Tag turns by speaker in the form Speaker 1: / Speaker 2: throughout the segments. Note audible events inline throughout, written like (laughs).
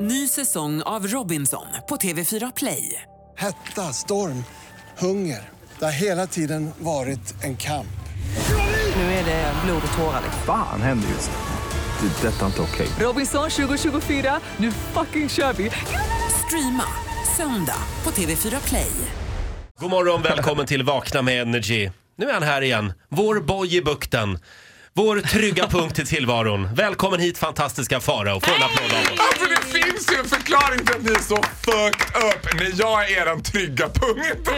Speaker 1: Ny säsong av Robinson på TV4 Play.
Speaker 2: Hetta, storm, hunger. Det har hela tiden varit en kamp.
Speaker 1: Nu är det blod och tårar. liksom.
Speaker 3: Fan händer just nu. Det. är Detta är inte okej.
Speaker 1: Robinson 2024, nu fucking kör vi! Streama söndag på TV4 Play.
Speaker 4: God morgon, välkommen till Vakna med Energy. Nu är han här igen, vår boj i bukten. Vår trygga punkt i tillvaron. Välkommen hit fantastiska Farao. Få en applåd av oss.
Speaker 5: Alltså det finns ju en förklaring till att ni är så fucked up när jag är den trygga punkten.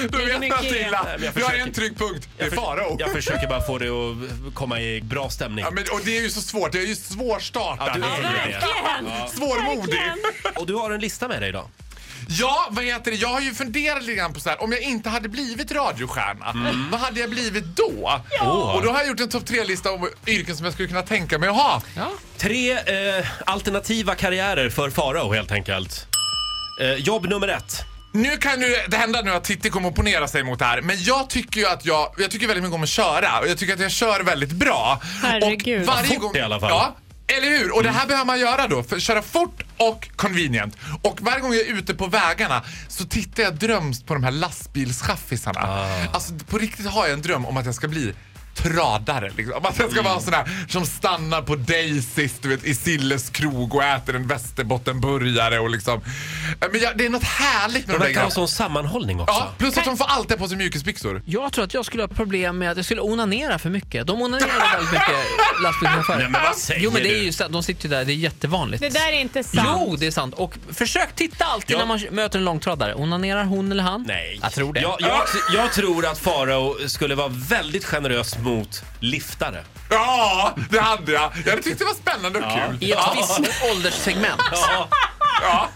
Speaker 5: du
Speaker 6: det är
Speaker 5: vet
Speaker 6: mycket
Speaker 5: att Tilla,
Speaker 4: men jag
Speaker 5: jag är
Speaker 4: försöker-
Speaker 5: en trygg punkt. Det är
Speaker 4: Jag förs-
Speaker 5: Farao.
Speaker 4: Jag försöker bara få dig att komma i bra stämning.
Speaker 5: Ja, men, och det är ju så svårt, jag är ju
Speaker 4: Ja,
Speaker 5: svårstartad.
Speaker 4: du är ju det.
Speaker 5: Svårmodig.
Speaker 4: Och du har en lista med dig idag.
Speaker 5: Ja, vad heter det? Jag har ju funderat lite grann på så här, om jag inte hade blivit radiostjärna,
Speaker 4: Mm.
Speaker 5: vad hade jag blivit då?
Speaker 4: Åh.
Speaker 5: Och då har jag gjort en topp tre-lista om yrken som jag skulle kunna tänka mig att ha.
Speaker 4: Tre eh, alternativa karriärer för Farao helt enkelt. Eh, jobb nummer ett.
Speaker 5: Nu kan ju det hända nu att Titti kommer att opponera sig mot det här, men jag tycker ju att jag, jag tycker väldigt mycket om att köra och jag tycker att jag kör väldigt bra.
Speaker 6: Herregud.
Speaker 5: Och varje
Speaker 4: Fort
Speaker 5: gång,
Speaker 4: i alla fall.
Speaker 5: Ja, eller hur? Och
Speaker 4: Mm.
Speaker 5: det här behöver man göra då, för köra fort och convenient. Och varje gång jag är ute på vägarna så tittar jag drömst på de här lastbilschaffisarna.
Speaker 4: Ah.
Speaker 5: Alltså på riktigt har jag en dröm om att jag ska bli tradare liksom. Om Att jag ska vara
Speaker 4: Mm.
Speaker 5: sån här som stannar på Daisys du vet, i Silles krog och äter en västerbottenburgare och liksom. Men jag, det är något härligt med
Speaker 4: De verkar
Speaker 5: de där
Speaker 4: ha
Speaker 5: grejerna.
Speaker 4: sån sammanhållning också.
Speaker 5: Ja, plus att de får alltid på sig mjukisbyxor.
Speaker 6: Jag tror att jag skulle ha problem med att jag skulle onanera för mycket. De onanerar väldigt mycket lastbilschaufförer.
Speaker 4: Nej, men vad säger
Speaker 6: Jo men det är
Speaker 4: du?
Speaker 6: ju så- de sitter ju där, det är jättevanligt.
Speaker 7: Det där är inte sant.
Speaker 6: Jo, det är sant. Och försök titta alltid
Speaker 4: Ja.
Speaker 6: när man möter en långtradare. Onanerar hon eller han?
Speaker 4: Nej.
Speaker 6: Jag tror det.
Speaker 4: Jag, jag, jag tror att Farao skulle vara väldigt generös mot liftare.
Speaker 5: Ja, det hade jag. Jag tyckte det var spännande och kul.
Speaker 6: I ett visst ålderssegment.
Speaker 4: Ja,
Speaker 5: Ja.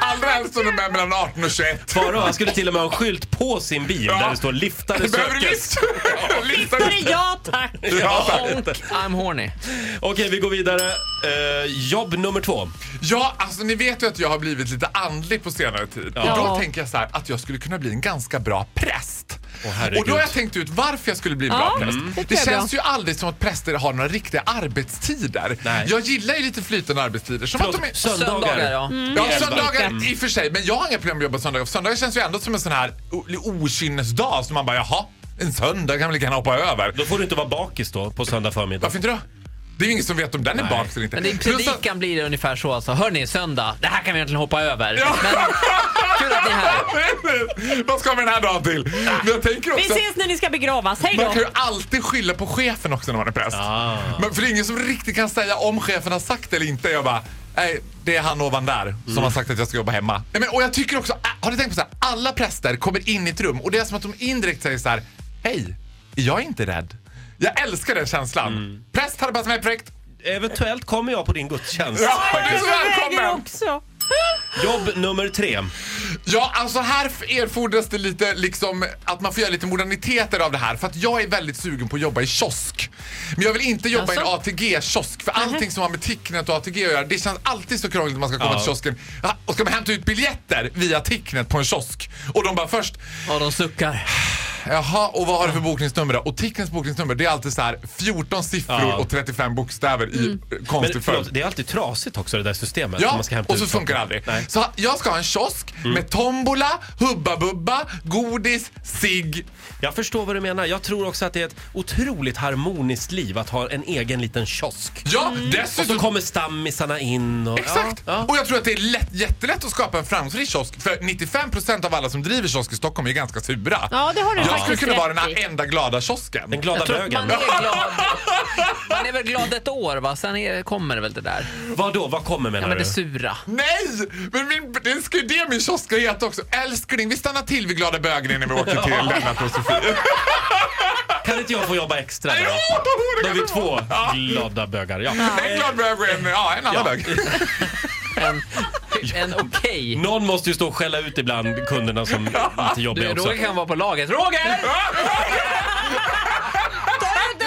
Speaker 5: Allra helst om de är mellan 18 och 21.
Speaker 4: Farao han skulle till och med ha en skylt på sin bil
Speaker 5: Ja.
Speaker 4: där det står liftare
Speaker 5: Behöver du
Speaker 4: sökes.
Speaker 5: lift? Liftar
Speaker 7: Tittare, ja tack!
Speaker 5: Ja, tack.
Speaker 6: Honk, I'm horny.
Speaker 4: Okej, vi går vidare. Eh, jobb nummer två.
Speaker 5: ja, alltså ni vet ju att jag har blivit lite andlig på senare tid.
Speaker 4: Ja.
Speaker 5: Och då tänker jag så här att jag skulle kunna bli en ganska bra präst.
Speaker 4: Åh, herregud.
Speaker 5: och då har jag tänkt ut varför jag skulle bli en bra
Speaker 7: Ja,
Speaker 5: präst.
Speaker 7: mm. det
Speaker 5: Det
Speaker 7: tror jag
Speaker 5: känns ju aldrig som att präster har några riktiga arbetstider.
Speaker 4: Nej.
Speaker 5: Jag gillar ju lite flytande arbetstider. Som att de är...
Speaker 4: Söndagar.
Speaker 6: Söndagar, ja.
Speaker 7: Mm.
Speaker 5: Ja, söndagar i och för sig. Men jag har inga problem med att jobba söndagar. För söndagar känns ju ändå som en sån här o- okynnesdag. Så man bara, jaha, en söndag kan vi lika gärna hoppa över.
Speaker 4: Då får du inte vara bakis då på söndag förmiddag.
Speaker 5: Varför inte då? Det är ju ingen som vet om den är
Speaker 4: Nej.
Speaker 5: bakis eller inte.
Speaker 6: Men i
Speaker 5: Plus att-
Speaker 6: predikan blir det ungefär så alltså. Hörni, söndag. Det här kan vi egentligen hoppa över. Men kul att ni är här.
Speaker 5: Vad ska vi den här dagen till? Men jag tänker
Speaker 7: Vi
Speaker 5: också...
Speaker 7: ses när ni ska begravas, hej
Speaker 5: Man
Speaker 7: då!
Speaker 5: kan ju alltid skylla på chefen också när man är präst.
Speaker 4: Ah.
Speaker 5: Men för det är ingen som riktigt kan säga om chefen har sagt det eller inte. Jag bara, nej, det är han ovan där som har sagt att jag ska jobba hemma. Nej, men, och jag tycker också, äh, har ni tänkt på så här, alla präster kommer in i ett rum och det är som att de indirekt säger så här, hej, jag är inte rädd. Jag älskar den känslan. Präst hade passat mig perfekt.
Speaker 4: Eventuellt kommer jag på din gudstjänst.
Speaker 5: Ja, du är
Speaker 4: faktiskt.
Speaker 5: så
Speaker 7: Jag väger
Speaker 5: välkommen!
Speaker 7: också!
Speaker 4: Jobb nummer tre.
Speaker 5: Ja, alltså här erfordras det lite liksom att man får göra lite moderniteter av det här. För att jag är väldigt sugen på att jobba i kiosk. Men jag vill inte jobba i en ATG-kiosk. För allting som har med Ticknet och ATG att göra, det känns alltid så krångligt när man ska komma
Speaker 4: Ja.
Speaker 5: till kiosken. Ja, Och ska man hämta ut biljetter via Ticknet på en kiosk? Och de bara först,
Speaker 6: Ja, de suckar.
Speaker 5: jaha, och vad har du för bokningsnummer då? Och Ticknets bokningsnummer, det är alltid så här 14 siffror
Speaker 4: Ja.
Speaker 5: och 35 bokstäver i eh,
Speaker 4: Men
Speaker 5: konstig följd.
Speaker 4: förlåt, det är alltid trasigt också det där systemet. när
Speaker 5: Ja,
Speaker 4: Alltså, man ska hämta
Speaker 5: och så
Speaker 4: ut
Speaker 5: funkar det
Speaker 4: saker.
Speaker 5: aldrig.
Speaker 4: Nej. Mm.
Speaker 5: Så jag ska ha en kiosk med tombola, Hubba Bubba, godis, cigg.
Speaker 4: Jag förstår vad du menar. Jag tror också att det är ett otroligt harmoniskt liv att ha en egen liten kiosk.
Speaker 5: Ja,
Speaker 4: Mm. Och så
Speaker 5: dessutom...
Speaker 4: kommer stammisarna in och...
Speaker 5: Exakt!
Speaker 4: Ja, ja.
Speaker 5: Och jag tror att det är lätt, jättelätt att skapa en framgångsrik kiosk. För 95% av alla som driver kiosk i Stockholm är ganska sura.
Speaker 7: Ja, det har du
Speaker 5: jag skulle
Speaker 7: faktiskt
Speaker 5: kunna vara den
Speaker 7: rätt i.
Speaker 5: här enda glada kiosken.
Speaker 4: Den glada
Speaker 6: Jag tror att
Speaker 4: bögen.
Speaker 6: man är glad. Man är väl glad ett år va, sen är, kommer det väl det där.
Speaker 4: Vad då? Vad kommer menar
Speaker 6: Ja men
Speaker 4: du?
Speaker 6: det sura.
Speaker 5: Nej! Men min, det ska ju det min kiosk ska heta också. Älskling, vi stannar till vid glada bögen innan vi
Speaker 4: (laughs)
Speaker 5: åker till Lennart och Sofie.
Speaker 4: Kan inte jag få jobba extra
Speaker 5: Jo,
Speaker 4: då? Då
Speaker 5: det kan
Speaker 4: är vi
Speaker 5: du få.
Speaker 4: två
Speaker 5: Ja.
Speaker 4: glada bögar. Ja.
Speaker 5: En glad bög och en, ja, en annan bög.
Speaker 6: (laughs) En, en okej.
Speaker 4: Någon måste ju stå och skälla ut ibland kunderna som inte jobbar
Speaker 6: Du,
Speaker 4: också.
Speaker 6: Roger kan vara på laget. (laughs) Roger!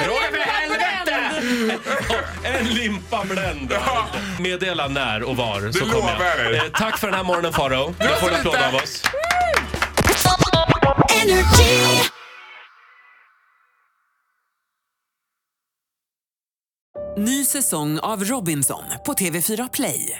Speaker 6: Roger för helvete!
Speaker 4: En limpa bländ! Meddela när och var så
Speaker 5: Det
Speaker 4: kommer
Speaker 5: lovar jag
Speaker 4: jag.
Speaker 5: dig.
Speaker 4: Eh, tack för den här morgonen Faro. Du
Speaker 5: var
Speaker 4: får
Speaker 5: så
Speaker 4: en applåd
Speaker 5: lite.
Speaker 4: av oss.
Speaker 1: Ny säsong av Robinson på TV4 Play.